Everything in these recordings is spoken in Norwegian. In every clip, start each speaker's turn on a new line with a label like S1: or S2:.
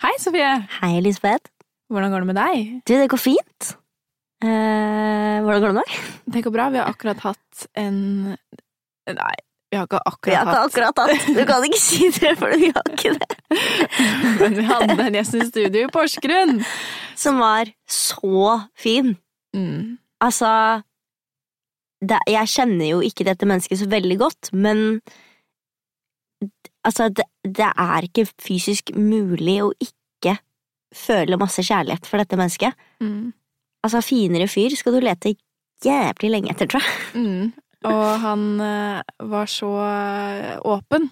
S1: Hei, Sofie.
S2: Hei, Elisabeth.
S1: Hvordan går det med deg?
S2: Du, det går fint. Eh, hvordan går det med deg?
S1: Det går bra. Vi har akkurat hatt en Nei, vi har ikke akkurat
S2: Vi har ikke
S1: hatt
S2: akkurat hatt Du kan ikke si det, for vi har ikke det.
S1: Men vi hadde en gjest i studio i Porsgrunn!
S2: Som var så fin.
S1: Mm.
S2: Altså det, Jeg kjenner jo ikke dette mennesket så veldig godt, men altså, det, det er ikke fysisk mulig å ikke føle masse kjærlighet for dette mennesket.
S1: Mm.
S2: Altså, finere fyr skal du lete jævlig lenge etter, tror jeg.
S1: Mm. Og han eh, var så eh, åpen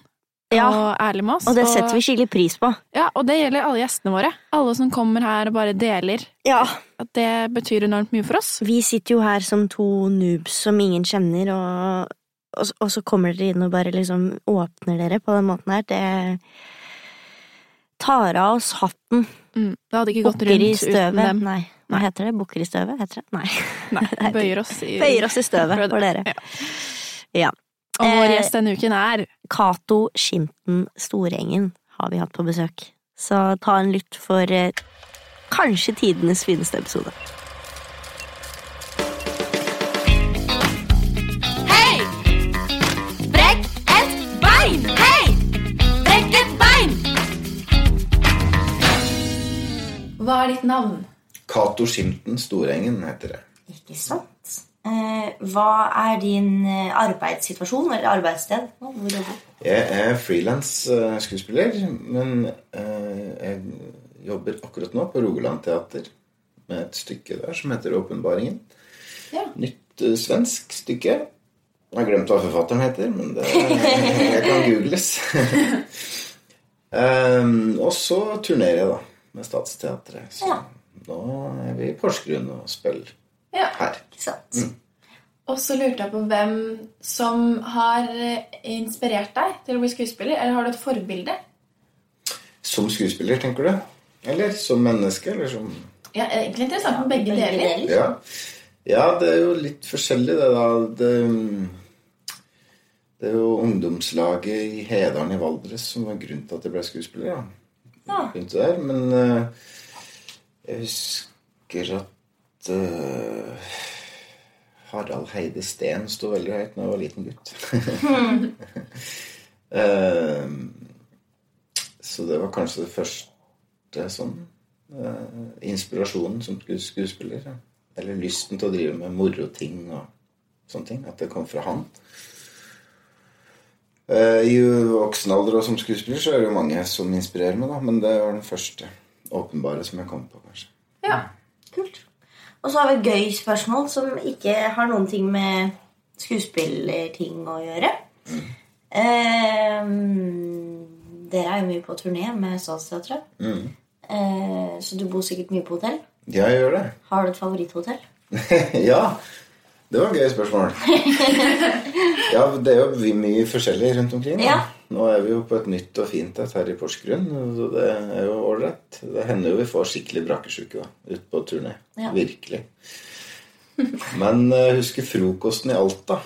S1: og ærlig med oss.
S2: Og det setter vi skikkelig pris på.
S1: Ja, og det gjelder alle gjestene våre. Alle som kommer her og bare deler.
S2: Ja,
S1: At det betyr enormt mye for oss.
S2: Vi sitter jo her som to noobs som ingen kjenner, og, og, så- og så kommer dere inn og bare liksom åpner dere på den måten her. Det tar av oss hatten.
S1: Mm. Det hadde ikke gått
S2: Bukker i
S1: rundt uten
S2: støvet.
S1: dem.
S2: Nei. Hva heter det? Bukker i støvet? Heter det? Nei.
S1: Nei, vi bøyer oss i
S2: Bøyer oss i støvet for dere. Ja.
S1: Og vår
S2: Eh,
S1: gjest denne uken er
S2: Cato Skinten Storengen har vi hatt på besøk. Så ta en lytt for eh, kanskje tidenes fineste episode.
S3: Hei! Brekk et bein! Hei! Brekk et bein!
S1: Hva er ditt navn?
S4: Cato Skimten Storengen heter det.
S2: Ikke sant. Eh, hva er din eh, arbeidssituasjon eller arbeidssted? Hvor jobber du?
S4: Jeg er frilans skuespiller, men eh, jeg jobber akkurat nå på Rogaland Teater med et stykke der som heter Åpenbaringen.
S1: Ja.
S4: Nytt eh, svensk stykke. Jeg har glemt hva forfatteren heter, men det jeg kan googles. Em, og så turnerer jeg, da, med Statsteatret. Så
S2: Ja.
S4: nå er vi i Porsgrunn og spiller
S1: Ja.
S4: her.
S2: Ikke sant.
S1: Og så lurte jeg på hvem som har eh, inspirert deg til å bli skuespiller. Eller har du et forbilde?
S4: Som skuespiller, tenker du? Eller som menneske? Eller som
S1: Ja, egentlig interessant med begge
S2: Begge
S1: deler.
S2: deler.
S4: Ja. ja, det er jo litt forskjellig, det, da. Det, det er jo ungdomslaget i Hedalen i Valdres som var grunnen til at jeg ble skuespiller. Da. Begynte der, men eh, jeg husker at eh, Harald Heide Steen sto veldig høyt da jeg var liten gutt. Eh, så det var kanskje det første sånn eh, inspirasjonen som sku- skuespiller. ja. Eller lysten til å drive med moroting og sånne ting. At det kom fra han. Eh, I voksen alder og som skuespiller så er det jo mange som inspirerer meg, da. Men det var den første åpenbare som jeg kom på, kanskje.
S1: Ja.
S2: Kult. Og så har vi et gøy spørsmål som ikke har noen ting med skuespillerting å gjøre. Ehm, dere er jo mye på turné med Statsteatret. Eh, så du bor sikkert mye på hotell.
S4: Ja, jeg gjør det.
S2: Har du et favoritthotell?
S4: ja. Det var et gøy spørsmål. ja, det er jo vi- mye forskjellig rundt omkring. da.
S2: Ja.
S4: Nå er vi jo på et nytt og fint et her i Porsgrunn, så det er jo ålreit. Det hender jo vi får skikkelig brakesjuke da, ut på turné.
S2: Ja.
S4: Virkelig. Men eh, jeg husker frokosten i Alta.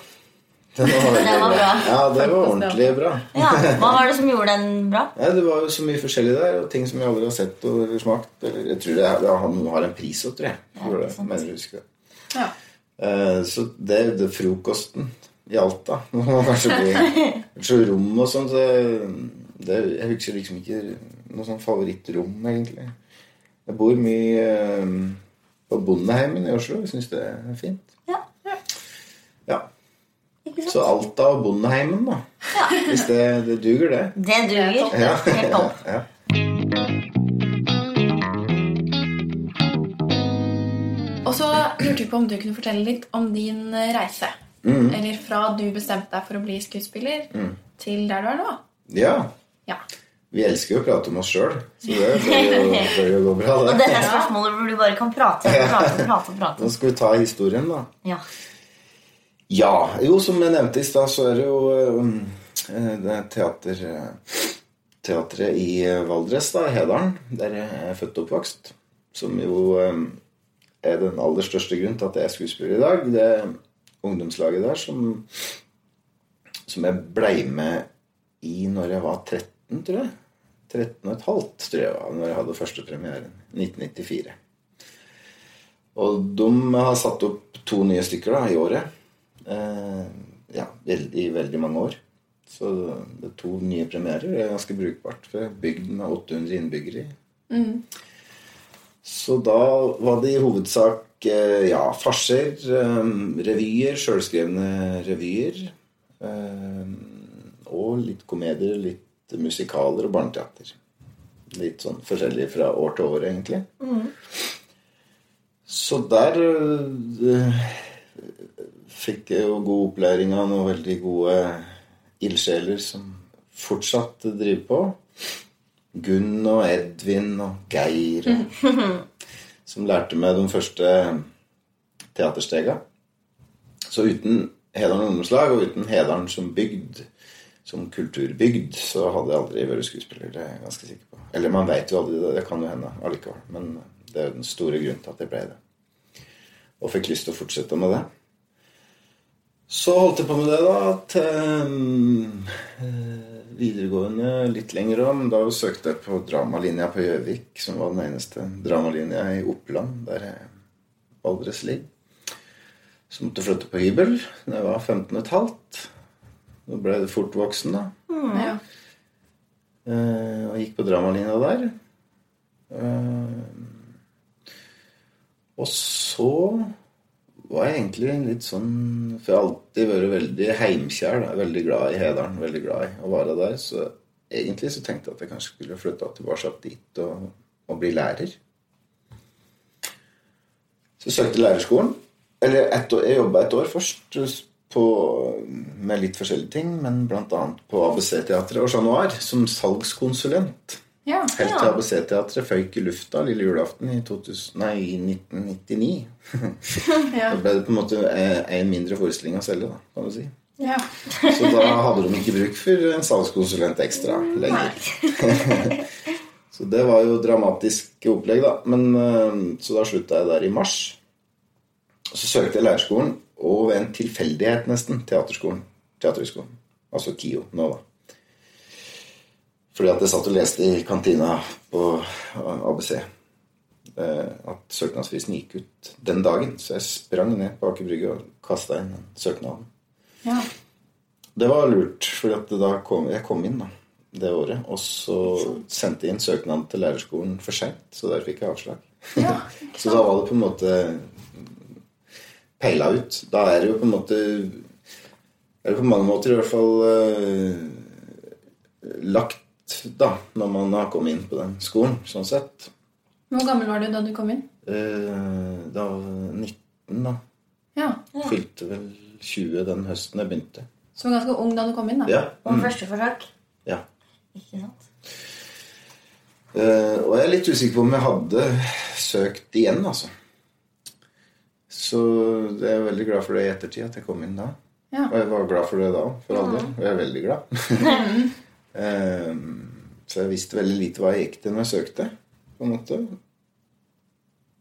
S4: Den var, veldig
S2: Den var bra.
S4: Ja, det var ordentlig bra.
S2: Ja, Hva var det som gjorde den bra?
S4: Nei, Det var jo så mye forskjellig der, og ting som jeg aldri har sett og eller smakt. Eller, jeg tror det er, det er, Han har en pris òg, tror jeg. For det, mener jeg husker det.
S1: Ja.
S4: Eh, så det er jo det frokosten i Alta. Nå må man kanskje bli Så rom og sånn, så det, Jeg husker liksom ikke noe sånn favorittrom, egentlig. Jeg bor mye eh, på Bondeheimen i Oslo. Jeg syns det er fint.
S2: Ja,
S4: Ja.
S2: ikke sant?
S4: Så Alta og Bondeheimen, da. Hvis det, det duger, det.
S2: Det duger. Helt topp.
S4: Ja.
S1: Og så lurte vi på om du kunne fortelle litt om din eh, reise. Eller fra du bestemte deg for å bli skuespiller, til der du er nå.
S4: ja.
S1: Ja.
S4: Vi elsker jo å prate om oss sjøl, så det bør jo, bør jo gå bra.
S2: Og
S4: Det.
S2: dette er spørsmålet hvor du bare kan prate og prate og prate. og prate.
S4: Nå skal vi ta historien, da.
S2: Ja.
S4: Ja. Jo, som jeg nevnte i stad, så er det jo um, eh, det er teater, eh, teatret i eh, Valdres, da, Hedalen, der jeg er født og oppvokst. Som jo um, er den aller største grunnen til at jeg er skuespiller i dag. Det er ungdomslaget der som, som jeg blei med i når jeg var 13, tror jeg. 13 og et halvt, tror jeg var, når jeg hadde første premieren. 1994. Og de har satt opp to nye stykker da, i året. Eh, ja, vel- i veldig mange år. Så det er to nye premierer. Det er ganske brukbart for bygden med 800 innbyggere. Så da var det i hovedsak eh, ja, farser, eh, revyer, sjølskrevne revyer. eh, Og litt komedier, litt musikaler og barneteater. Litt sånn forskjellig fra år til år, egentlig. Så der eh, fikk jeg jo god opplæring av noen veldig gode ildsjeler som fortsatt driver på. Gunn og Edvin og Geir. Og, som lærte meg de første teaterstega. Så uten Hedalen ungdomslag og uten Hedalen som bygd, som kulturbygd, så hadde jeg aldri vært skuespiller. Det er jeg ganske sikker på. Eller man veit jo aldri, det det kan jo hende allikevel. Men det er jo den store grunnen til at jeg ble det. Og fikk lyst til å fortsette med det. Så holdt jeg på med det da til mm, eh, videregående litt lenger om. Da søkte jeg på dramalinja på Gjøvik, som var den eneste dramalinja i Oppland, der jeg Valdres ligger. Så måtte jeg flytte på hybel da jeg var 15 15,5. Da ble jeg fort voksen, da.
S5: Ja.
S4: Eh, og gikk på dramalinja der. Eh, og så var jeg egentlig litt sånn For jeg har alltid vært veldig heimkjær. Da. Veldig glad i Hedalen, veldig glad i å være der. Så egentlig så tenkte jeg at jeg kanskje skulle flytte tilbake dit og, og bli lærer. Så søkte jeg lærerskolen. Eller ett år, jeg jobba et år først eh, på, med litt forskjellige ting, men bl.a. på ABC-teatret og Chat Noir som salgskonsulent.
S5: Ja.
S4: Helt til ABC-teatret føyk i lufta lille julaften i 2000, nei, i 1999.
S5: Ja.
S4: Da ble det på en måte én mindre forestilling å selge, da, kan du si.
S5: Ja.
S4: Så da hadde de ikke bruk for en salgskonsulent ekstra lenger. så det var jo dramatisk opplegg, da. Men, eh, så da slutta jeg der i mars. Så søkte jeg lærerskolen, og ved en tilfeldighet nesten teaterskolen. Teaterhøgskolen. Altså KIO nå, da. Fordi at jeg satt og leste i kantina på ABC eh, at søknadsfristen gikk ut den dagen. Så jeg sprang ned på Aker Brygge og kasta inn den søknaden.
S5: Ja.
S4: Det var lurt, for da kom, jeg kom inn da, det året. Og så sendte jeg inn søknaden til lærerskolen for seint, så der fikk jeg avslag.
S5: Ja.
S4: Så da var det på en måte peila ut. Da er det jo på en måte Er det på mange måter i hvert fall eh, lagt, da, når man har kommet inn på den skolen, sånn sett.
S5: Hvor gammel var du da du kom inn?
S4: Eh, da var jeg 19, da.
S5: Ja.
S4: Fylte vel 20 den høsten jeg begynte.
S5: Så du var ganske ung da du kom inn, da.
S4: Ja.
S2: På første forsøk.
S4: ja.
S2: Ikke sant?
S4: Eh, og jeg er litt usikker på om jeg hadde søkt igjen, altså. Så jeg er veldig glad for det i ettertid, at jeg kom inn da.
S5: Ja.
S4: Og jeg var glad for det da, for all del. Og jeg er veldig glad. Eh, så jeg visste veldig lite hva jeg gikk til når jeg søkte. på en måte.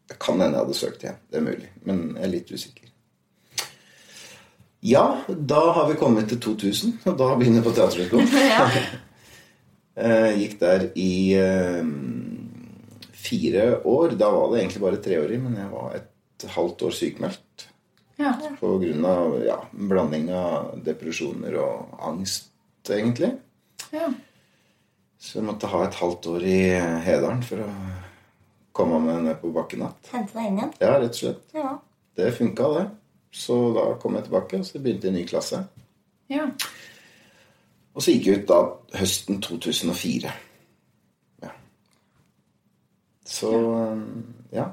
S4: Det kan hende jeg hadde søkt igjen. Det er mulig. Men jeg er litt usikker. Ja, da har vi kommet til 2000, og da begynner jeg på Teaterhøgskolen. Eh, gikk der i eh, fire år. Da var det egentlig bare treårig, men jeg var et halvt år sykemeldt.
S5: Ja.
S4: På grunn av ja, en blanding av depresjoner og angst, egentlig.
S5: Ja.
S4: Så jeg måtte ha et halvt år i eh, Hedalen for å komme meg ned på bakken igjen.
S2: Hente deg inn igjen.
S4: Ja, rett og slett.
S2: Ja.
S4: Det funka, det. Så da kom jeg tilbake, og så begynte jeg i ny klasse.
S5: ja.
S4: Og så gikk jeg ut da høsten 2004. Ja. Så eh, ja.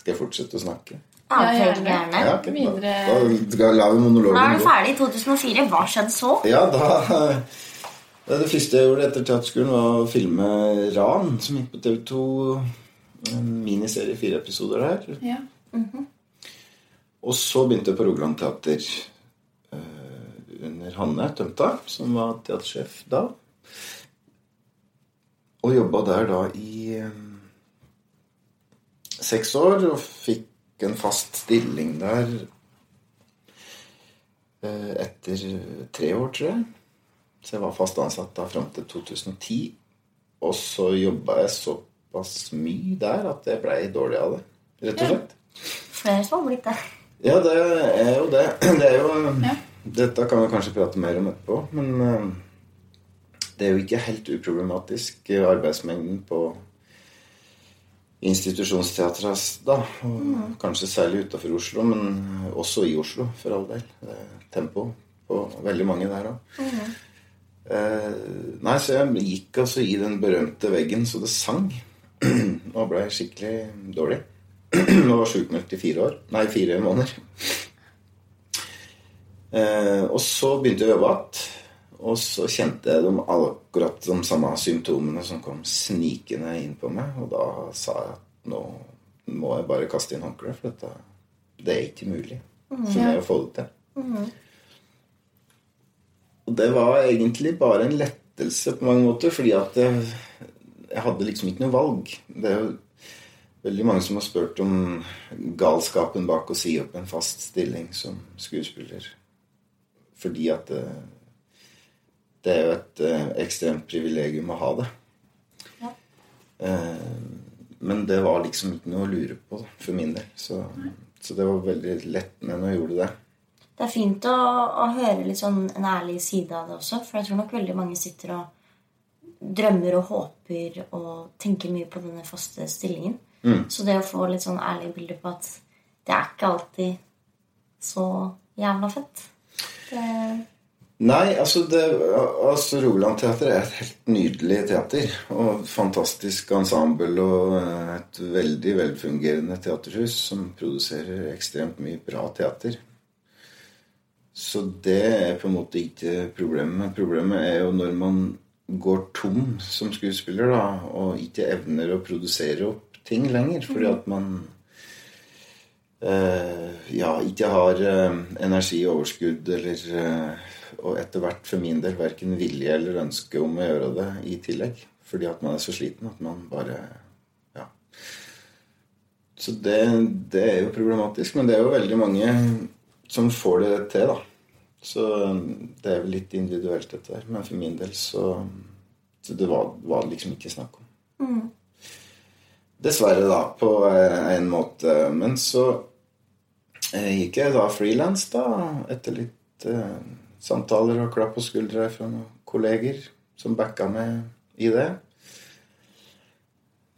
S4: Skal jeg fortsette å snakke?
S2: Annet
S5: Ja,
S2: ja,
S5: gjerne.
S2: gjerne.
S4: Ja, ok.
S5: videre.
S4: Da, da skal jeg la
S2: Da
S4: vi
S2: er
S4: monologen
S2: den
S4: gå.
S2: ferdig i 2004. Hva skjedde så?
S4: Ja, da det, det første jeg gjorde etter teaterskolen, var å filme Ran, som gikk på TV2. En miniserie, fire episoder der.
S5: ja.
S4: Og så begynte jeg på Rogaland Teater eh, under Hanne Tømta, som var teatersjef da. Og jobba der da i eh, seks år og fikk en fast stilling der eh, etter tre år, tror jeg. Så jeg var fast ansatt da fram til 2010. Og så jobba jeg såpass mye der at jeg blei dårlig av det, rett og slett.
S2: Flere som har blitt det.
S4: Ja, det er jo det. Det er jo
S5: Ja.
S4: Dette kan vi kanskje prate mer om etterpå, men eh, det er jo ikke helt uproblematisk eh, arbeidsmengden på institusjonsteatra, da. Og kanskje særlig utafor Oslo, men også i Oslo, for all del. Det er Tempo på veldig mange der òg. Eh, nei, så jeg gikk altså i den berømte veggen så det sang. og ble jeg skikkelig dårlig. og var sjukmeldt i fire år. Nei, fire måneder. Eh, og så begynte jeg å jobbe igjen. Og så kjente jeg de akkurat de samme symptomene som kom snikende inn på meg. Og da sa jeg at nå må jeg bare kaste inn håndkleet, for dette det er ikke mulig for meg å få det til. Og det var egentlig bare en lettelse på mange måter, fordi at jeg, jeg hadde liksom ikke noe valg. Det er jo Veldig mange som har spurt om galskapen bak å si opp en fast stilling som skuespiller. Fordi at det, det er jo et eh, ekstremt privilegium å ha det. Eh, Men det var liksom ikke noe å lure på da, for min del. Så, så det var veldig lett med når jeg gjorde det.
S2: Det er fint å, å høre litt sånn en ærlig side av det også, for jeg tror nok veldig mange sitter og drømmer og håper og tenker mye på denne faste stillingen.
S4: Mm.
S2: Så det å få litt sånn ærlig bilde på at det er ikke alltid så jævla fett det,
S4: Nei, altså, det, altså Rogaland Teater er et helt nydelig teater. Og fantastisk ensemble og eh, et veldig velfungerende teaterhus som produserer ekstremt mye bra teater. Så det er på en måte ikke problemet. Problemet er jo når man går tom som skuespiller da, og ikke evner å produsere opp ting lenger fordi at man eh, ja, ikke har eh, energi og overskudd eller eh, Og etter hvert for min del verken vilje eller ønske om å gjøre det i tillegg. Fordi at man er så sliten at man bare Ja. Så det, det er jo problematisk. Men det er jo veldig mange som får det til, da. Så eh, det er vel litt individuelt, dette der. Men for min del så, så det var, var det liksom ikke snakk om.
S2: mm,
S4: Dessverre, da, på eh, en måte. Men så eh, gikk jeg da frilans, da, etter litt eh, samtaler og klapp på skuldra fra noen kolleger som backa meg i det.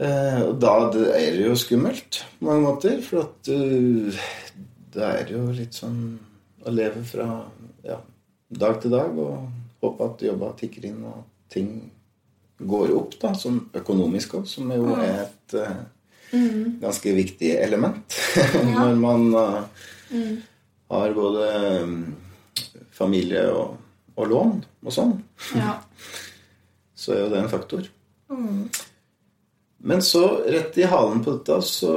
S4: Eh, og da det er det jo skummelt på mange måter, for at eh, det er jo litt sånn å leve fra ja, dag til dag og håpe at jobba tikker inn, og ting går opp, da, som økonomisk òg, som jo er et eh, ganske viktig element når man eh, har både eh, familie og, og lån og sånn.
S5: Ja.
S4: Så er jo det en faktor. Men så, rett i halen på dette, så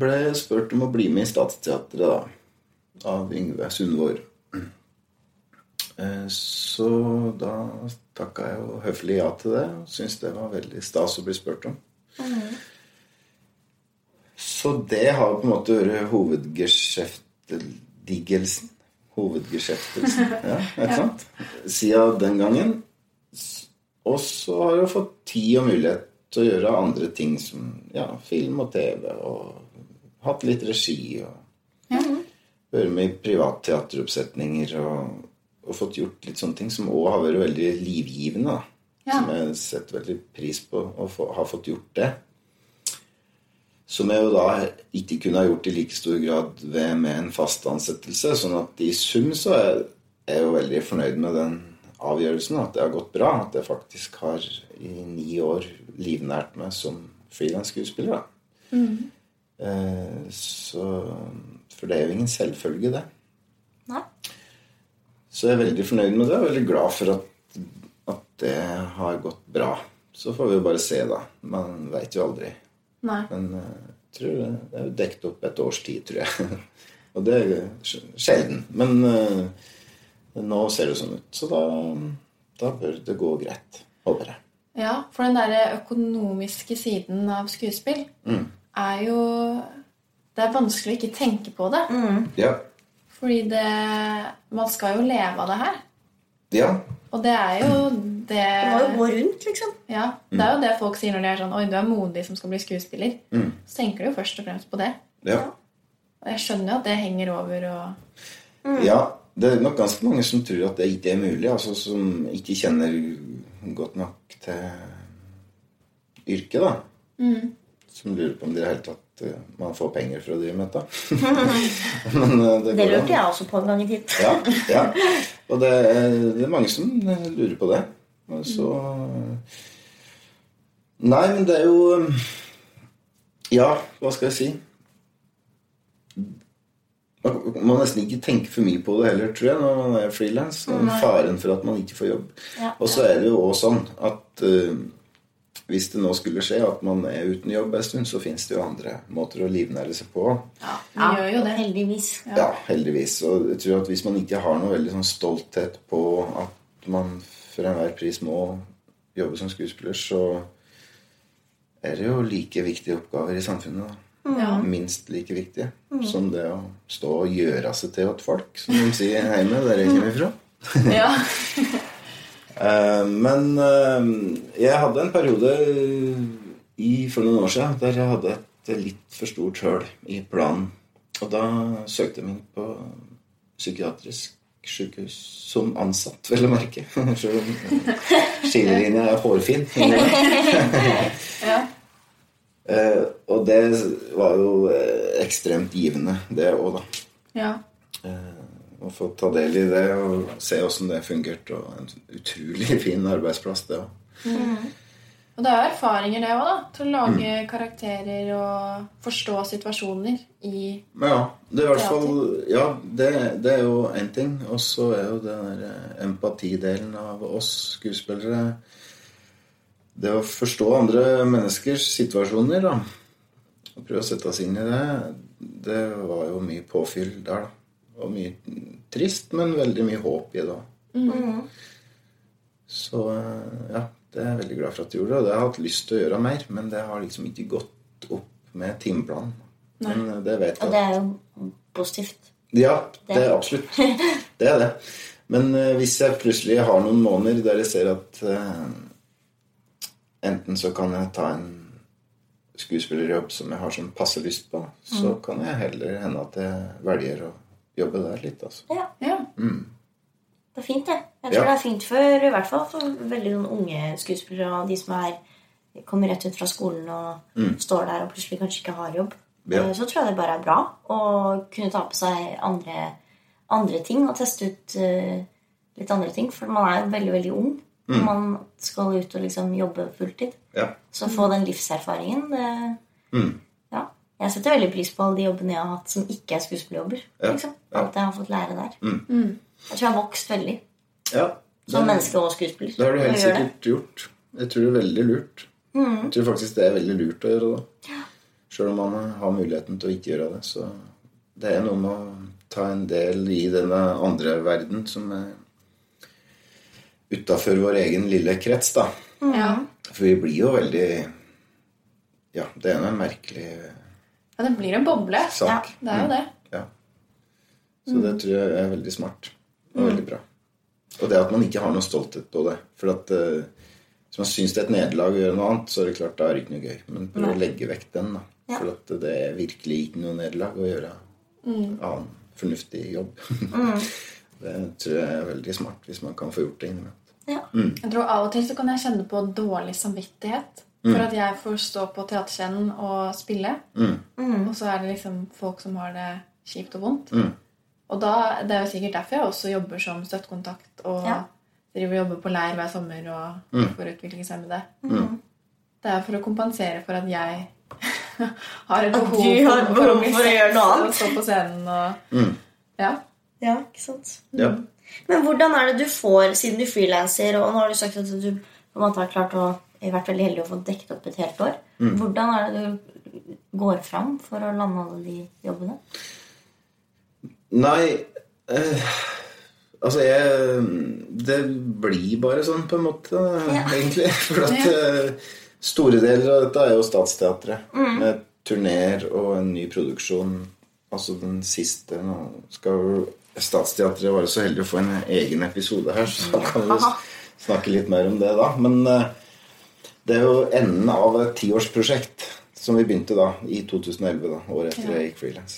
S4: ble jeg spurt om å bli med i Statsteatret, da. Av Yngve Sundvor. Eh, Så da takka jeg jo høflig ja til det. og Syntes det var veldig stas å bli spurt om. Så det har på en måte vært hovedgeskjefteldigelsen. Hovedgeskjeftelsen, ja, ikke sant? Siden den gangen. S- Og så har jeg jo fått tid og mulighet til å gjøre andre ting som ja, film og TV, og hatt litt regi og Være med i privatteateroppsetninger og, og fått gjort litt sånne ting som òg har vært veldig livgivende. da.
S5: Ja.
S4: Som jeg setter veldig pris på å få, ha fått gjort det. Som jeg jo da ikke kunne ha gjort i like stor grad ved, med en fast ansettelse. Sånn at i sum så er jeg jo veldig fornøyd med den avgjørelsen. At det har gått bra. At jeg faktisk har i ni år livnært meg som frilansskuespiller. da. Eh, så For det er jo ingen selvfølge, det.
S2: Nei.
S4: Så jeg er veldig fornøyd med det og veldig glad for at, at det har gått bra. Så får vi jo bare se, da. Man veit jo aldri.
S5: Nei.
S4: Men eh, jeg tror det, det er jo dekt opp et års tid, tror jeg. og det er jo sj- sjelden. Men eh, nå ser det sånn ut. Så da, da bør det gå greit, håper jeg.
S5: Ja, for den der økonomiske siden av skuespill er jo Det er vanskelig å ikke tenke på det.
S2: Mm.
S4: Ja.
S5: Fordi det Man skal jo leve av det her.
S4: ja.
S5: Og det er jo det,
S2: Du må jo gå rundt, liksom.
S5: ja, det er jo det folk sier når de er sånn Oi, du er modig som skal bli skuespiller.
S4: Mm.
S5: Så tenker du jo først og fremst på det.
S4: Ja.
S5: Og jeg skjønner jo at det henger over og
S4: ja. Det er nok ganske mange som tror at det ikke er mulig. Altså som ikke kjenner godt nok til yrket, da. Som lurer på om det i det hele tatt eh, man får penger for å drive med dette. Men eh, det
S2: Det
S4: går an.
S2: lurte jeg også på en gang i tiden.
S4: Ja, ja. Og det, er- det er mange som lurer på det. Og Så Nei, men det er jo eh, Ja, hva skal jeg si? Man må nesten ikke tenke for mye på det heller, tror jeg, når man er frilans. Faren for at man ikke får jobb.
S2: Ja.
S4: Og så er det jo også sånn at eh, hvis det nå skulle skje at man er uten jobb en stund, så fins det jo andre måter å livnære seg på.
S5: Ja, vi gjør jo det.
S2: Heldigvis.
S4: Ja, heldigvis. Og jeg tror at hvis man ikke har noe veldig sånn stolthet på at man for enhver pris må jobbe som skuespiller, så er det jo like viktige oppgaver i samfunnet. da.
S5: Ja.
S4: Minst like viktige som det å stå og gjøre seg til et folk, som de sier hjemme der jeg kommer fra.
S5: Ja.
S4: Eh, Men eh, jeg hadde en periode i, for noen år siden der jeg hadde et litt for stort høl i planen. Og da søkte jeg meg inn på psykiatrisk sykehus som ansatt, vel å merke. Selv om skillelinja er hårfin.
S5: Ja.
S4: Eh, Og det var jo eh, ekstremt givende, det òg, da
S5: ja.
S4: å Eh, få ta del i det og se åssen det fungerte. Og en utrolig fin arbeidsplass, det òg.
S5: Og det er jo erfaringer, det òg, da. Til å lage karakterer og forstå situasjoner i
S4: Men ja, det er i hvert fall Ja, det, det er jo én ting. Og så er jo den der eh, empatidelen av oss skuespillere Det å forstå andre menneskers situasjoner, da. Og prøve å sette oss inn i det. Det var jo mye påfyll der, da. Og mye trist, men veldig mye håp i det òg. Mm. Så eh, ja, det er jeg veldig glad for at du gjorde. Og det har jeg hatt lyst til å gjøre mer, men det har liksom ikke gått opp med timeplanen. Men eh, det vet jeg.
S2: Og det er jo positivt.
S4: Ja, det er absolutt. Det er det. Men eh, hvis jeg plutselig har noen måneder der jeg ser at eh, enten så kan jeg ta en skuespillerjobb som jeg har sånn passe lyst på, så kan jeg heller hende at jeg velger å jobbe der litt, altså.
S2: Ja,
S5: Ja.
S2: det er fint, det. Jeg tror
S4: Ja.
S2: det er fint for i hvert fall for veldig noen unge skuespillere og de som er, kommer rett ut fra skolen og står der og plutselig kanskje ikke har jobb.
S4: Mm. Ja.
S2: Eh, Så tror jeg det bare er bra å kunne ta på seg andre, andre ting og teste ut eh, litt andre ting. For man er jo veldig, veldig ung.
S4: Mm.
S2: når Man skal ut og liksom jobbe fulltid.
S4: Ja.
S2: Så få
S4: Mm.
S2: den livserfaringen det, ja. Jeg setter veldig pris på alle de jobbene jeg har hatt som ikke er skuespillerjobber.
S4: Ja,
S2: Liksom.
S4: ja. Mm.
S2: Alt jeg har fått lære der. Jeg tror jeg har vokst veldig
S4: ja.
S2: som
S4: det-
S2: menneske og skuespiller.
S4: Det har du helt
S2: Jeg gjør det.
S4: sikkert gjort. Jeg tror det er veldig lurt. Jeg tror faktisk det er veldig lurt å gjøre det. Sjøl om man har muligheten til å ikke gjøre det. Så det er noe med å ta en del i denne andre verden som er utafor vår egen lille krets, da.
S5: ja.
S4: For vi blir jo veldig Ja, det er jo en merkelig
S5: Ja, det blir en boble.
S4: sak.
S5: Det er jo det.
S4: Ja. Så det tror jeg er veldig smart og veldig bra. Og det at man ikke har noe stolthet på det. For at eh, hvis man syns det er et nederlag å gjøre noe annet, så er det klart da er det ikke noe gøy. Men prøv å legge vekk den, da.
S2: Ja.
S4: For at det er virkelig ikke noe nederlag å gjøre annen fornuftig jobb. det tror jeg er veldig smart, hvis man kan få gjort det innimellom.
S2: Ja.
S5: Jeg tror Av og til så kan jeg kjenne på dårlig samvittighet for at jeg får stå på teaterscenen og spille.
S4: Mm.
S5: Og så er det liksom folk som har det kjipt og vondt.
S4: Mm.
S5: Og da, Det er jo sikkert derfor jeg også jobber som støttekontakt og
S2: Ja.
S5: driver og jobber på leir hver sommer og for utviklingshemmede.
S2: Mm.
S5: Det er for å kompensere for at jeg har et
S2: At
S5: behov,
S2: du har
S5: for å
S2: behov
S5: bli
S2: for å gjøre noe
S5: sett
S2: annet.
S5: Og stå på scenen og Ja.
S2: ja, ikke sant.
S4: Ja.
S2: Men hvordan er det du får, siden du frilanser, og nå har du sagt at du på en måte har klart å eh, vært veldig heldig å få dekket opp et helt år.
S4: Mm.
S2: Hvordan er det du går fram for å lande alle de jobbene?
S4: Nei eh, Altså, jeg Det blir bare sånn, på en måte, egentlig. For at eh, store deler av dette er jo Statsteatret. Med turneer og en ny produksjon. Altså den siste Nå skal jo Statsteatret være så heldig å få en egen episode her, så da kan vi snakke litt mer om det da. Men eh, det er jo enden av et tiårsprosjekt som vi begynte da, i 2011, da, året etter jeg gikk frilans.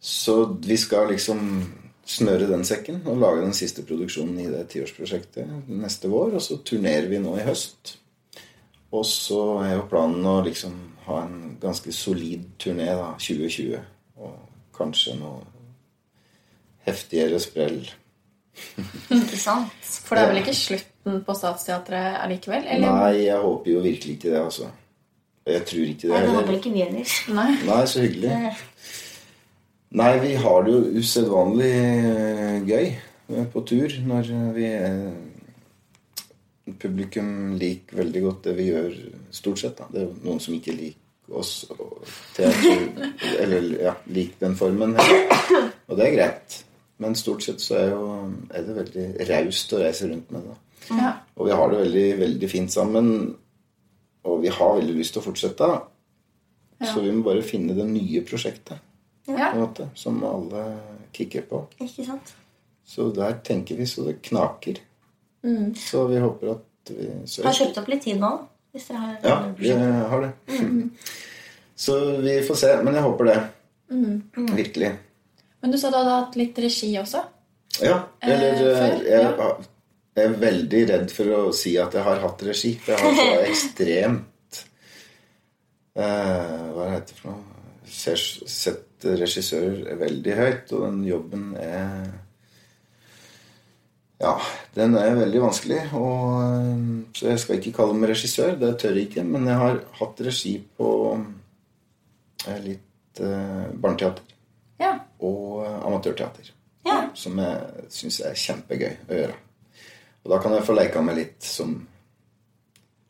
S4: Så vi skal liksom snøre den sekken og lage den siste produksjonen i det tiårsprosjektet neste vår. Og så turnerer vi nå i høst. Og så er jo planen å liksom ha en ganske solid turné da, 2020. Og kanskje noe heftigere sprell.
S2: Ikke sant?
S5: For det er vel ikke slutten på Statsteatret allikevel? Eller?
S4: Nei, jeg håper jo virkelig ikke det, altså. Jeg tror ikke det
S2: Nei, det
S4: heller.
S2: håper ikke vi heller.
S5: Nei.
S4: Nei, så hyggelig. Nei, vi har det jo usedvanlig eh, gøy eh, på tur når eh, vi eh, Publikum liker veldig godt det vi gjør, stort sett. da. Det er jo noen som ikke liker oss og teater Eller ja, liker den formen. her. Og det er greit. Men stort sett så er, jo, er det veldig raust å reise rundt med det.
S5: Ja.
S4: Og vi har det veldig, veldig fint sammen. Og vi har veldig lyst til å fortsette. da. Så vi må bare finne det nye prosjektet på
S5: Ja.
S4: en måte, som alle kikker på.
S2: Ikke sant?
S4: Så der tenker vi så det knaker. Så vi håper at vi
S2: Jeg Mm. har
S4: søker.
S2: kjøpt opp litt tid nå. Hvis dere har
S4: Ja, vi har det.
S2: Mm.
S4: Så vi får se. Men jeg håper det.
S2: Mm.
S4: Virkelig.
S5: Men du sa du hadde hatt litt regi også?
S4: Ja, eller
S5: Eh, før,
S4: eh, jeg, jeg er veldig redd for å si at jeg har hatt regi. For jeg har så ekstremt eh, Hva heter det for noe? Ser, sett regissører veldig høyt, og den jobben er Ja, den er veldig vanskelig. Og, eh, så jeg skal ikke kalle meg regissør, det tør jeg ikke. Men jeg har hatt regi på eh, litt eh, barneteater
S5: Ja.
S4: og eh, amatørteater
S2: Ja.
S4: som jeg syns er kjempegøy å gjøre. Og da kan jeg få leke meg litt som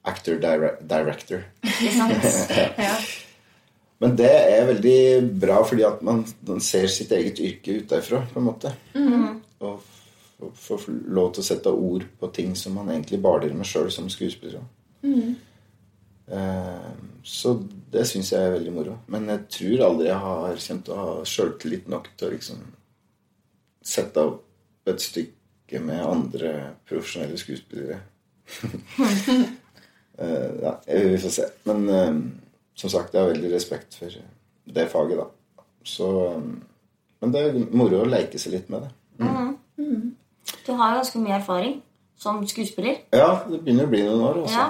S4: actor dire- director.
S2: Ikke sant?
S5: ja.
S4: Men det er veldig bra fordi at man, man ser sitt eget yrke ut derfra, på en måte.
S2: Mhm.
S4: Og f- og får lov til å sette ord på ting som man egentlig baler med sjøl som skuespiller.
S2: Mhm.
S4: Eh, Så det syns jeg er veldig moro. Men jeg tror aldri jeg har kjent å ha sjøltillit nok til å liksom sette opp et stykke med andre profesjonelle skuespillere. Eh, ja, vi får se. Men eh, som sagt, jeg har veldig respekt for det faget, da. Så eh, Men det er moro å leke seg litt med det.
S2: Du har jo ganske mye erfaring som skuespiller.
S4: Ja, det begynner å bli noen år, altså.
S2: Ja.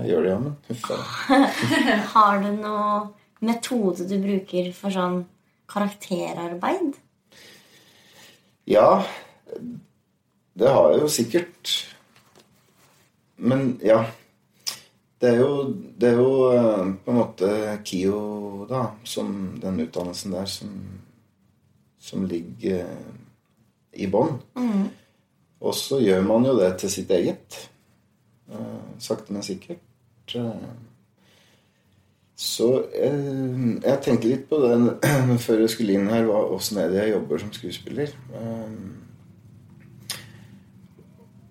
S4: Jeg gjør det, ja, men huff da.
S2: Har du noen metode du bruker for sånn karakterarbeid?
S4: Ja, det har jeg jo sikkert. Men ja. Det er jo, det er jo eh, på en måte KIO, da, som den utdannelsen der som, som ligger eh, i bånn. Og så gjør man jo det til sitt eget. eh, Sakte, men sikkert. Eh, Så eh, jeg tenkte litt på det før jeg skulle inn her, hva, hvordan er det jeg jobber som skuespiller. Eh,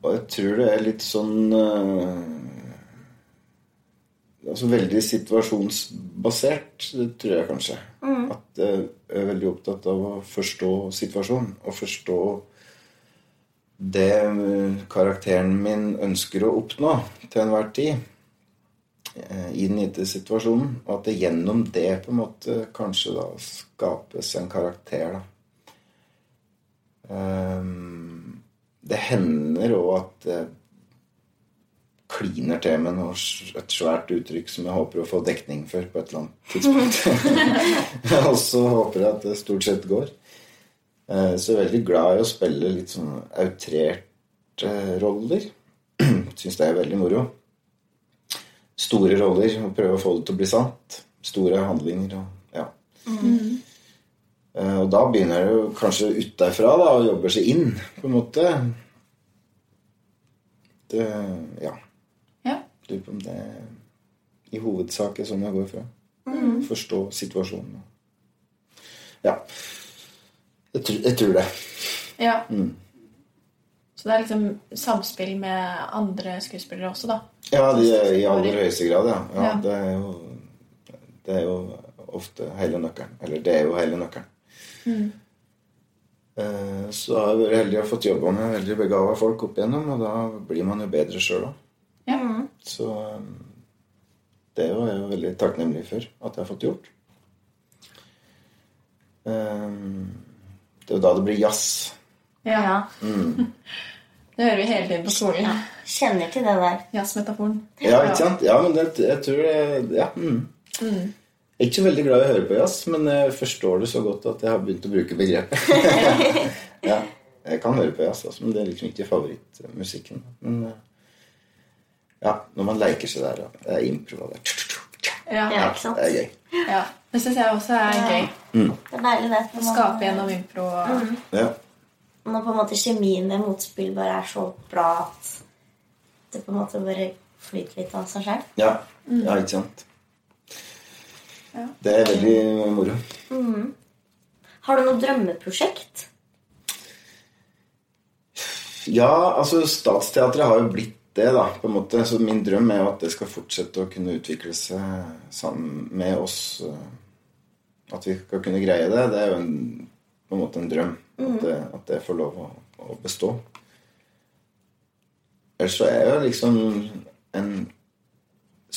S4: og jeg tror det er litt sånn eh, Altså veldig situasjonsbasert, det tror jeg kanskje. At eh, jeg er veldig opptatt av å forstå situasjonen. Og forstå det eh, karakteren min ønsker å oppnå til enhver tid eh, i den gitte situasjonen. Og at det gjennom det på en måte kanskje da skapes en karakter, da. Ehm, det hender òg at det kliner til med noe, s- et svært uttrykk som jeg håper å få dekning for på et eller annet tidspunkt. og så håper jeg at det stort sett går. Eh, Så jeg er veldig glad i å spille litt sånn outrerte roller. Syns det er veldig moro store roller og prøve å få det til å bli sant. Store handlinger og ja. Eh, Og da begynner det jo kanskje utenfra da, og jobber seg inn, på en måte. Det Ja.
S5: ja.
S4: Lurer på om det i hovedsak er sånn jeg går fra. Forstå situasjonen. Ja. Jeg tror, jeg tror det.
S5: Ja. Så det er liksom samspill med andre skuespillere også, da.
S4: Ja, de, i aller høyeste grad, ja. ja,
S5: Ja.
S4: Det, er jo,
S5: Mm.
S4: det er jo ofte hele nøkkelen. Eller det er jo hele nøkkelen. Eh, Så har jeg vært heldig og fått jobba med veldig begava folk opp igjennom, og da blir man jo bedre sjøl òg.
S5: Ja.
S4: Så eh, det var jeg jo veldig takknemlig for at jeg har fått gjort. Eh, Det er jo da det blir jazz.
S5: Ja.
S2: Ja.
S5: Det hører vi hele tiden på skolen.
S2: Kjenner til det der.
S5: Jazzmetaforen.
S4: Ja, ikke sant? Ja, men det, jeg tror det ja. mm. Jeg er ikke så veldig glad i å høre på jazz, men jeg forstår det så godt at jeg har begynt å bruke begrepet. ja, jeg kan høre på jazz, altså, men det er liksom ikke favorittmusikken. Men eh, ja, når man leker seg der, ja. det er impro og det.
S5: Ja.
S2: Ja, ikke sant?
S4: Det er gøy.
S5: ja. Det syns jeg også er gøy.
S2: Det er deilig, det.
S5: Å skape gjennom impro. Og...
S4: Ja.
S2: Når på en måte kjemien med motspill bare er så bra at det på en måte bare flyter litt av seg selv.
S4: Ja.
S2: Mm.
S4: ja, ikke sant? Det er veldig moro.
S2: Har du noe drømmeprosjekt?
S4: Ja, altså Statsteatret har jo blitt det, da, på en måte. Så min drøm er jo at det skal fortsette å kunne utvikle seg sammen med oss. eh, At vi skal kunne greie det. Det er jo en, på en måte en drøm. At, det, at det får lov å, å bestå. Ellers så er jeg jo liksom en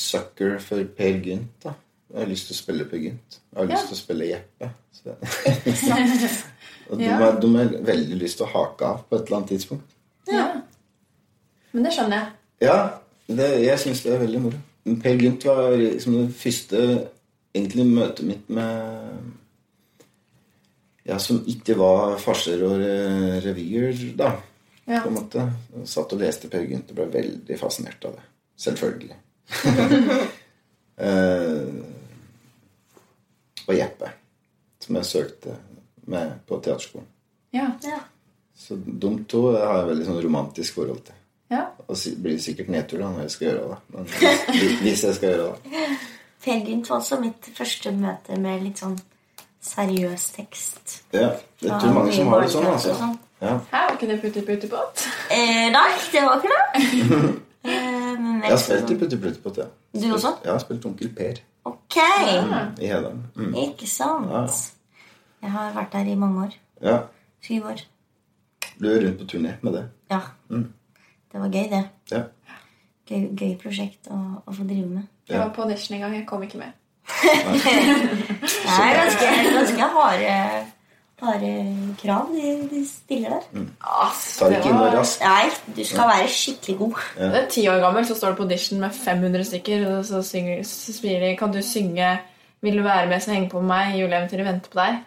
S4: sucker for Per Gynt, da. Jeg har lyst til å spille Per Gynt. Jeg har lyst til å spille Jeppe. Så det. Og de,
S5: Ja.
S4: har, de har veldig lyst til å hake av på et eller annet tidspunkt.
S5: Ja. Men det skjønner jeg.
S4: Ja, det, jeg syns det er veldig moro. Men Per Gynt var liksom det første egentlig møtet mitt med Ja, som ikke var farser og eh, revyer, da.
S5: Ja.
S4: På en måte. Jeg Satt og leste Per Gynt og ble veldig fascinert av det. Selvfølgelig. eh, og Jeppe, som jeg søkte med på teaterskolen.
S5: Ja.
S2: Ja.
S4: Så de to har jeg veldig sånn romantisk forhold til.
S5: ja.
S4: Og si- blir det sikkert nedtur da når jeg skal gjøre det. Men hvis- hvis jeg skal gjøre det.
S2: Per Gynt var også mitt første møte med litt sånn seriøs tekst.
S4: Ja, det tror mange som har det sånn, altså. Ja.
S5: Her var ikke det putti putti båt.
S2: Eh, nei, det var ikke det. eh, men
S4: Jeg har
S2: vet
S4: spilt
S2: du
S4: i Putti Plutti Pott, ja.
S2: Du også?
S4: Jeg har spilt Onkel Per
S2: Ok,
S4: i Hedalen. Mm.
S2: ikke sant. Jeg har vært der i mange år.
S4: Ja,
S2: Syv år.
S4: Du er rundt på turné med det.
S2: Ja.
S4: Mm.
S2: Det var gøy, det.
S4: Ja.
S2: Gøy, gøy prosjekt å, å få drive med.
S5: Jeg var på audition en gang. Jeg kom ikke med.
S2: Det er ganske, ganske harde, harde krav de, de stiller der.
S5: Ass,
S4: Tar ikke inn noe raskt.
S2: Nei, du skal være skikkelig god.
S5: Det er Ti år gammel så står du på audition med 500 stykker, og så synger, så spiller de 'Kan du synge 'Vil du være med, så henge på meg', 'Juleeventyret venter på deg'.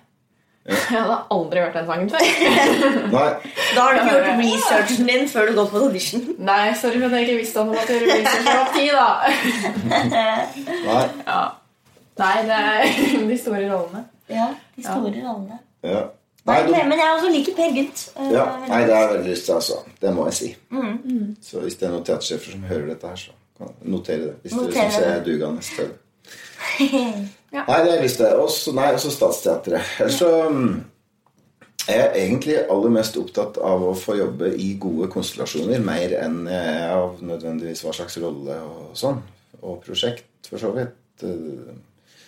S5: Jeg hadde aldri hørt den sangen før.
S4: Nei,
S2: Da har du ikke gjort researchen din før du går på audition.
S5: Nei, sorry for at jeg ikke visste at man måtte gjøre research når man var ti, da.
S4: nei.
S5: Nei, det er de store rollene.
S2: Ja, de store rollene.
S4: Ja.
S2: Nei,
S4: Nei, du,
S2: men jeg også liker Per Gynt. eh,
S4: ja.
S2: veldig
S4: nei,
S2: godt.
S4: det har jeg veldig lyst til, altså. Det må jeg si. Så hvis det er noen teatersjefer som hører dette her, så kan jeg notere det. Hvis dere
S2: Notere
S4: syns jeg er
S2: det.
S4: dugende til det. Nei, det visste jeg. Også, nei, også Statsteatret. Ellers så mm, er jeg egentlig aller mest opptatt av å få jobbe i gode konstellasjoner, mer enn jeg er av nødvendigvis hva slags rolle og sånn. Og prosjekt, for så vidt. Eh,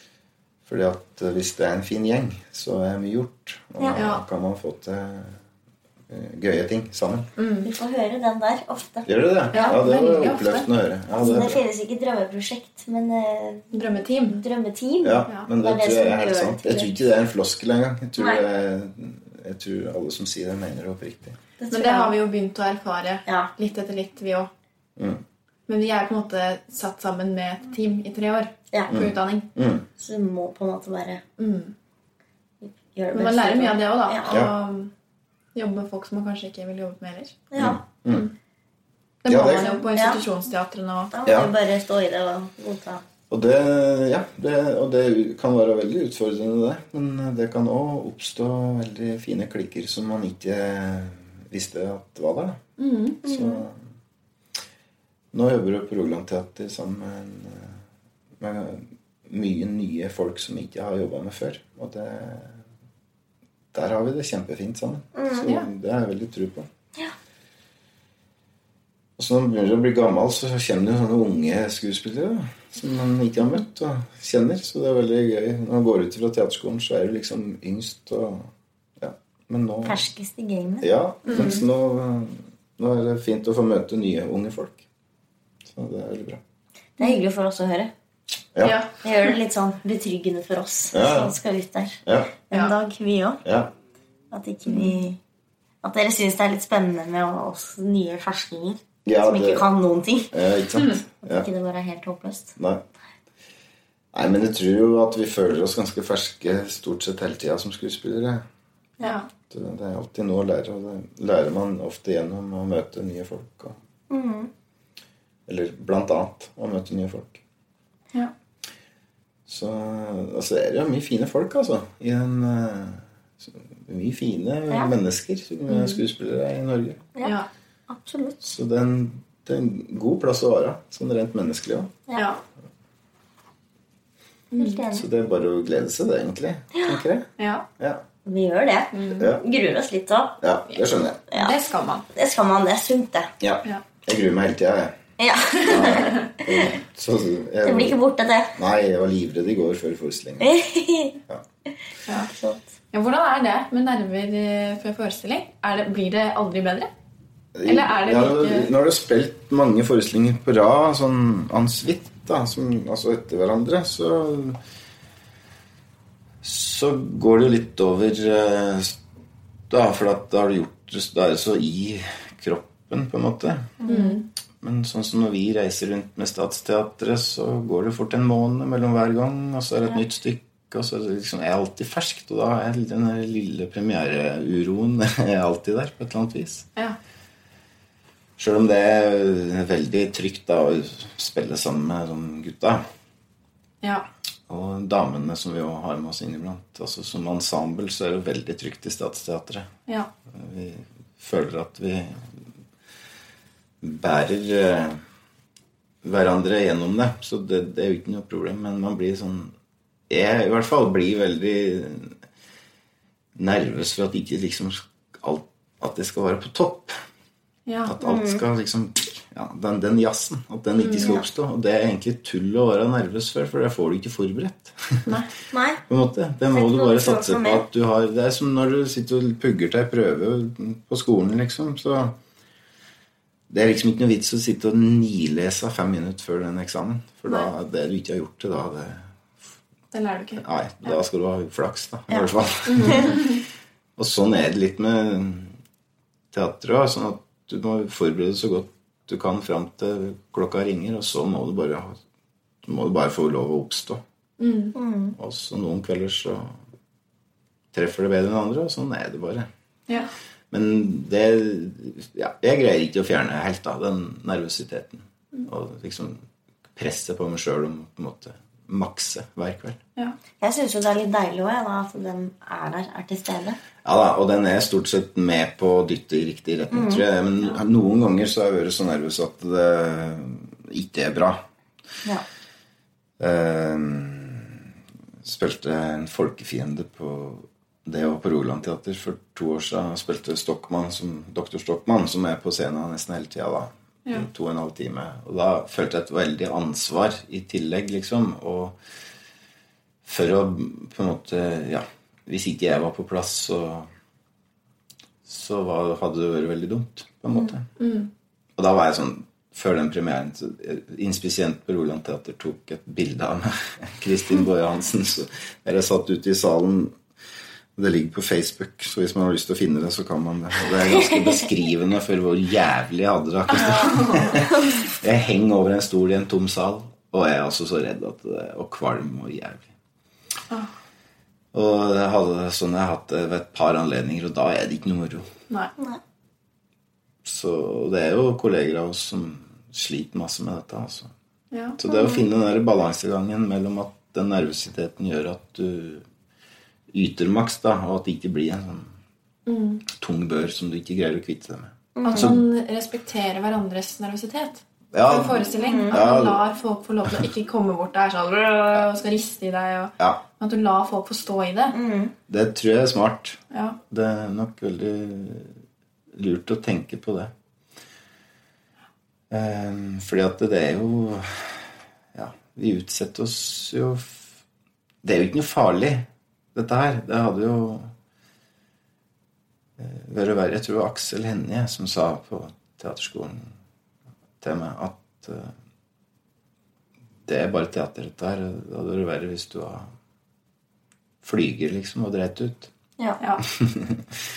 S4: Fordi at eh, hvis det er en fin gjeng, så er mye gjort. Og da
S5: Ja.
S4: kan man få til eh, gøye ting sammen.
S2: Du får høre den der ofte.
S4: Gjør du det?
S5: Ja,
S4: det var
S5: veldig ofte.
S4: oppløftende å høre. Ja,
S2: Altså, det
S4: det,
S2: finnes ikke drømmeprosjekt, men eh,
S5: Drømmeteam.
S2: drømmeteam.
S4: Ja, men det,
S2: Det er det
S4: tror
S2: som
S4: jeg er helt
S2: gjør det
S4: sant.
S2: til
S4: Jeg tror
S2: det.
S4: ikke det er en floskel engang. Jeg tror,
S2: Nei.
S4: det er- jeg tror alle som sier det, mener det oppriktig.
S5: Men det har vi jo begynt å erfare
S2: Ja.
S5: litt etter litt, vi òg. Men vi er på en måte satt sammen med et team i tre år
S2: Ja.
S5: på utdanning.
S4: Mm.
S2: Så du må på en måte bare
S5: Mm.
S2: gjøre det
S5: Men man lærer mye av det òg, da.
S2: Ja.
S4: Ja.
S5: Og um, jobbe med folk som man kanskje ikke ville jobbet med ellers.
S2: ja.
S5: Det
S4: Ja,
S5: må
S4: det-
S5: man jo på
S2: Ja.
S5: institusjonsteatrene og
S2: Da må
S4: Ja.
S2: du bare stå i det og godta.
S4: Og det, ja, det, og det kan være veldig utfordrende, det. Men eh, det kan òg oppstå veldig fine klikker som man ikke visste at var der. da. Så nå jobber jeg på Rogaland Teater sammen med, en, eh, med mye nye folk som ikke har jobba med før. Og det, der har vi det kjempefint sammen. Så
S5: Ja.
S4: det har jeg veldig tro på. Og så når man begynner å bli gammel, så kommer det jo sånne unge skuespillere da, som man ikke har møtt og kjenner. Så det er veldig gøy. Når man går ut fra teaterskolen, så er det liksom yngst og ja, Men nå,
S2: Ferskest i gamet.
S4: ja, mens nå, eh, nå er det fint å få møte nye unge folk. Så det er veldig bra.
S2: Det er hyggelig for oss å høre.
S4: Ja.
S5: Ja.
S2: Det gjør det litt sånn betryggende for oss
S4: Ja.
S2: som skal ut der
S4: Ja,
S2: en
S5: Ja.
S2: dag, vi òg.
S4: ja,
S2: At ikke vi At dere syns det er litt spennende med oss nye ferskinger
S4: Ja,
S2: som ikke
S4: det-
S2: kan noen ting.
S4: ja ikke sant?
S2: At
S4: Ja,
S2: ikke det bare er helt håpløst.
S4: nei. nei, men jeg tror jo at vi føler oss ganske ferske stort sett hele tida som skuespillere.
S5: Ja.
S4: Det det er alltid noe å lære, og det lærer man ofte gjennom å møte nye folk. Og, Eller blant annet å møte nye folk.
S5: Ja.
S4: Så altså, det er jo mye fine folk, altså. I en, eh, så- mye fine
S2: Ja.
S4: mennesker som er skuespillere i Norge.
S2: Ja.
S5: Ja.
S2: Absolutt.
S4: Så det er en, det er en god plass å være, sånn rent menneskelig òg.
S5: ja.
S2: Helt
S5: Mm.
S2: enig.
S4: Så det er bare å glede seg, det, egentlig. Tenker jeg.
S5: ja.
S4: Ja.
S2: Vi gjør det.
S5: Mm.
S4: Ja.
S2: Gruer oss litt òg.
S4: ja, det skjønner jeg.
S2: Ja.
S5: Det skal man.
S2: Det skal man. Det er sunt, det.
S4: Ja.
S5: Ja.
S4: Jeg gruer meg hele tida, jeg.
S2: Ja.
S4: Så, jeg
S2: Det blir ikke borte, det.
S4: Nei, jeg var livredd i går før forestillingen.
S2: Absolutt.
S5: Ja, hvordan er det med nerver eh, før forestilling? Er det, blir det aldri bedre? Eller er det like-
S4: Nå har du spilt mange forestillinger på rad, sånn en suite, da, som, altså etter hverandre, så Så går det jo litt over eh, da, for at da har du gjort det Da er det så i kroppen, på en måte.
S5: Mm.
S4: Men sånn som når vi reiser rundt med Statsteatret, så går det fort en måned mellom hver gang, og så er det et nytt stykke. Og så er det liksom, jeg er alltid ferskt, og da er den der lille premiereuroen er alltid der. på et eller annet vis.
S5: Ja.
S4: Sjøl om det er veldig trygt da, å spille sammen med de gutta.
S5: Ja.
S4: Og damene som vi også har med oss inniblant. Altså, som ensemble så er det veldig trygt i Statsteatret.
S5: ja.
S4: Vi føler at vi bærer eh, hverandre gjennom det. Så det, det er jo ikke noe problem. Men man blir sånn Jeg i hvert fall blir veldig nervøs for at ikke liksom alt, at det skal være på topp.
S5: ja.
S4: At alt skal liksom ja, den, den jazzen. At den ikke skal oppstå. Og det er egentlig tull å være nervøs for, for det får du ikke forberedt.
S5: Nei.
S2: Nei.
S4: På en måte. Det må
S2: Det er
S4: du
S2: ikke noe du
S4: bare
S2: tror
S4: satse
S2: på
S4: på
S2: mer.
S4: at du har Det er som når du sitter og pugger til ei prøve på skolen, liksom. Så det er liksom ikke noe vits å sitte og nilese fem minutter før den eksamen. For da, det du ikke har gjort til da, det
S5: Det lærer du ikke.
S4: Nei, da skal du ha flaks, da. I hvert fall. og sånn er det litt med teatret òg. Sånn at du må forberede deg så godt du kan fram til klokka ringer, og så må du bare, ha- du må bare få lov å oppstå. Og så noen kvelder så treffer det bedre enn andre, og sånn er det bare.
S5: Ja.
S4: Men det ja, Jeg greier ikke å fjerne helt da, den nervøsiteten. Og liksom presset på meg sjøl om å på en måte makse hver kveld.
S5: Ja.
S2: Jeg syns jo det er litt deilig òg, at den er der, er til stede.
S4: Ja da, og den er stort sett med på å dytte i riktig retning, tror jeg. Men noen ganger så har jeg vært så nervøs at det ikke er bra.
S2: Ja.
S4: Eh, spilte en folkefiende på det og på Rogaland Teater for to år siden. Spilte Stockmann som Dr. Stockmann, som er på scenen nesten hele tida da. i To og en halv time. Og da følte jeg et veldig ansvar i tillegg, liksom. Og for å på en måte Ja, hvis ikke jeg var på plass, så så var, hadde det vært veldig dumt, på en måte. Og da var jeg sånn Før den premieren så eh, Inspisient på Roland Teater tok et bilde av meg. Kristin Boje Hansen. Så der jeg satt ute i salen. Det ligger på Facebook, så hvis man har lyst til å finne det, så kan man det. Og det er ganske beskrivende for hvor jævlig jeg hadde det akkurat da. Jeg henger over en stol i en tom sal, og jeg er altså så redd at det, og kvalm og jævlig. Og jeg hadde, sånn jeg har hatt det ved et par anledninger, og da er det ikke noe moro.
S5: Nei.
S4: Så det er jo kolleger av oss som sliter masse med dette. Altså.
S5: Ja.
S4: Så det å finne den der balansegangen mellom at den nervøsiteten gjør at du yter maks, da, og at det ikke blir en sånn tung bør som du ikke greier å kvitte deg med.
S5: At man respekterer hverandres nervøsitet.
S4: Ja.
S5: For en forestilling.
S2: Mhm.
S5: At
S4: Ja.
S5: man lar folk få lov til å ikke komme bort der sånn, «Åh», og skal riste i deg. Og,
S4: Ja,
S5: Men At du lar folk få stå i det.
S2: Mm.
S4: det tror jeg er smart.
S5: Ja.
S4: Det er nok veldig lurt å tenke på det. Ehm, Fordi at det er jo Ja, vi utsetter oss jo f- Det er jo ikke noe farlig, dette her. Det hadde jo Bør det være, eh, jeg tror Aksel Hennie som sa på teaterskolen til meg at eh, det er bare teater, dette her. Det hadde vært verre hvis du var flyger, liksom, og dreit ut.
S2: Ja.
S5: Ja.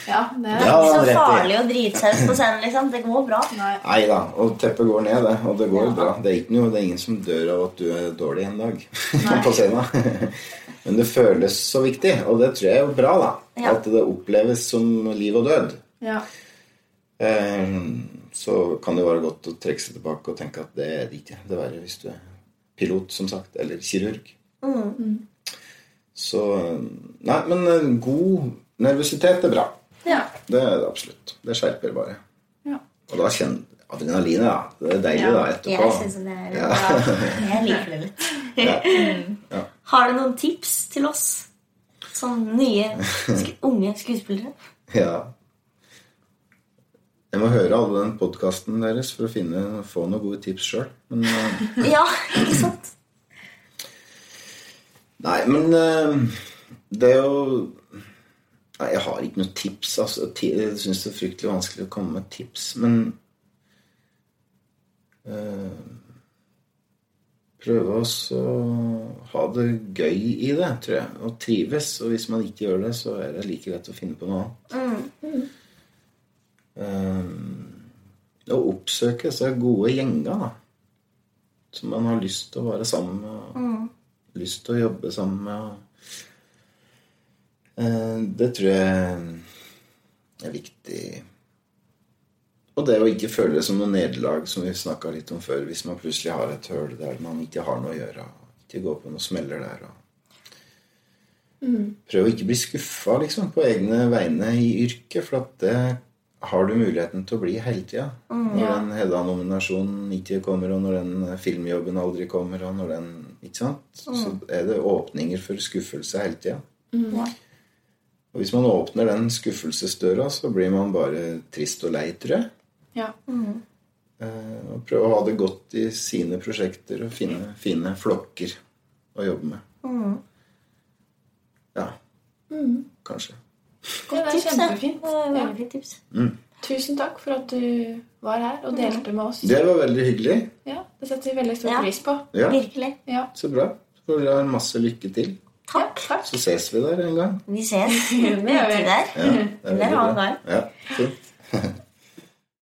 S5: ja, det
S4: Ja,
S2: Det er ikke
S4: rett i.
S2: så farlig å drite seg ut på scenen, liksom. Det går bra.
S5: Nei.
S4: Nei da. Og teppet går ned, det. Og det går jo bra. Det er, ikke noe, det er ingen som dør av at du er dårlig en dag på scenen. Men det føles så viktig, og det tror jeg er jo bra, da.
S2: Ja.
S4: At det oppleves som liv og død.
S5: Ja.
S4: Eh, så kan det være godt å trekke seg tilbake og tenke at det er det ikke. Det er verre hvis du er pilot, som sagt, eller kirurg.
S2: Mm.
S4: Så Nei, men eh, god nervøsitet er bra.
S5: Ja.
S4: Det er det absolutt. Det skjerper bare.
S5: Ja.
S4: Og da kjenner adrenalinet, da. Det er deilig, da, etterpå.
S2: Jeg syns det er bra. Jeg liker det litt.
S4: Ja.
S2: Har du noen tips til oss? Sånn nye, sk unge skuespillere?
S4: Ja. Jeg må høre alle den podkasten deres for å finne, få noen gode tips sjøl. Men eh,
S2: Ja, ikke sant?
S4: Nei, men eh, det er jo Nei, jeg har ikke noe tips. Altså, ti, jeg syns det er fryktelig vanskelig å komme med tips, men eh, Prøve også å ha det gøy i det, tror jeg. Og trives. Og hvis man ikke gjør det, så er det like greit å finne på noe annet. Eh, å oppsøke så gode gjenger, da. Som man har lyst til å være sammen med. og lyst til å jobbe sammen med. og, eh, Det tror jeg eh, er viktig. Og det å ikke føle det som noe nederlag, som vi snakka litt om før, hvis man plutselig har et høl der man ikke har noe å gjøre, og ikke går på noen smeller der. og Prøv å ikke bli skuffa liksom, på egne vegne i yrket, for at det har du muligheten til å bli hele tida. når den Hedda-nominasjonen ikke kommer, og når den eh, filmjobben aldri kommer, og når den, ikke sant? så er det åpninger for skuffelse hele tida.
S2: Ja.
S4: Og hvis man åpner den skuffelsesdøra, så blir man bare trist og lei, tror jeg.
S5: Ja.
S2: Mm.
S4: Eh, Og prøve å ha det godt i sine prosjekter og finne fine flokker å jobbe med.
S2: Mm.
S4: Ja. Kanskje.
S5: Ja, det er
S2: Tips, ja.
S5: kjempefint.
S2: Det er
S5: Ja.
S2: Veldig fint tips.
S5: Tusen takk for at du var her
S2: Mm.
S5: og delte med oss.
S4: Det var veldig hyggelig.
S5: Ja, det setter vi veldig stor
S2: Ja.
S5: pris på.
S4: Ja,
S2: Virkelig.
S5: Ja.
S4: Så bra. Så får dere ha masse lykke til.
S2: Takk.
S5: Takk.
S4: Så ses vi der en gang.
S2: Vi ses. Vi møter der.
S4: Ja, det er
S2: Det
S4: veldig
S2: var
S4: bra.
S2: en
S4: Ja, fint.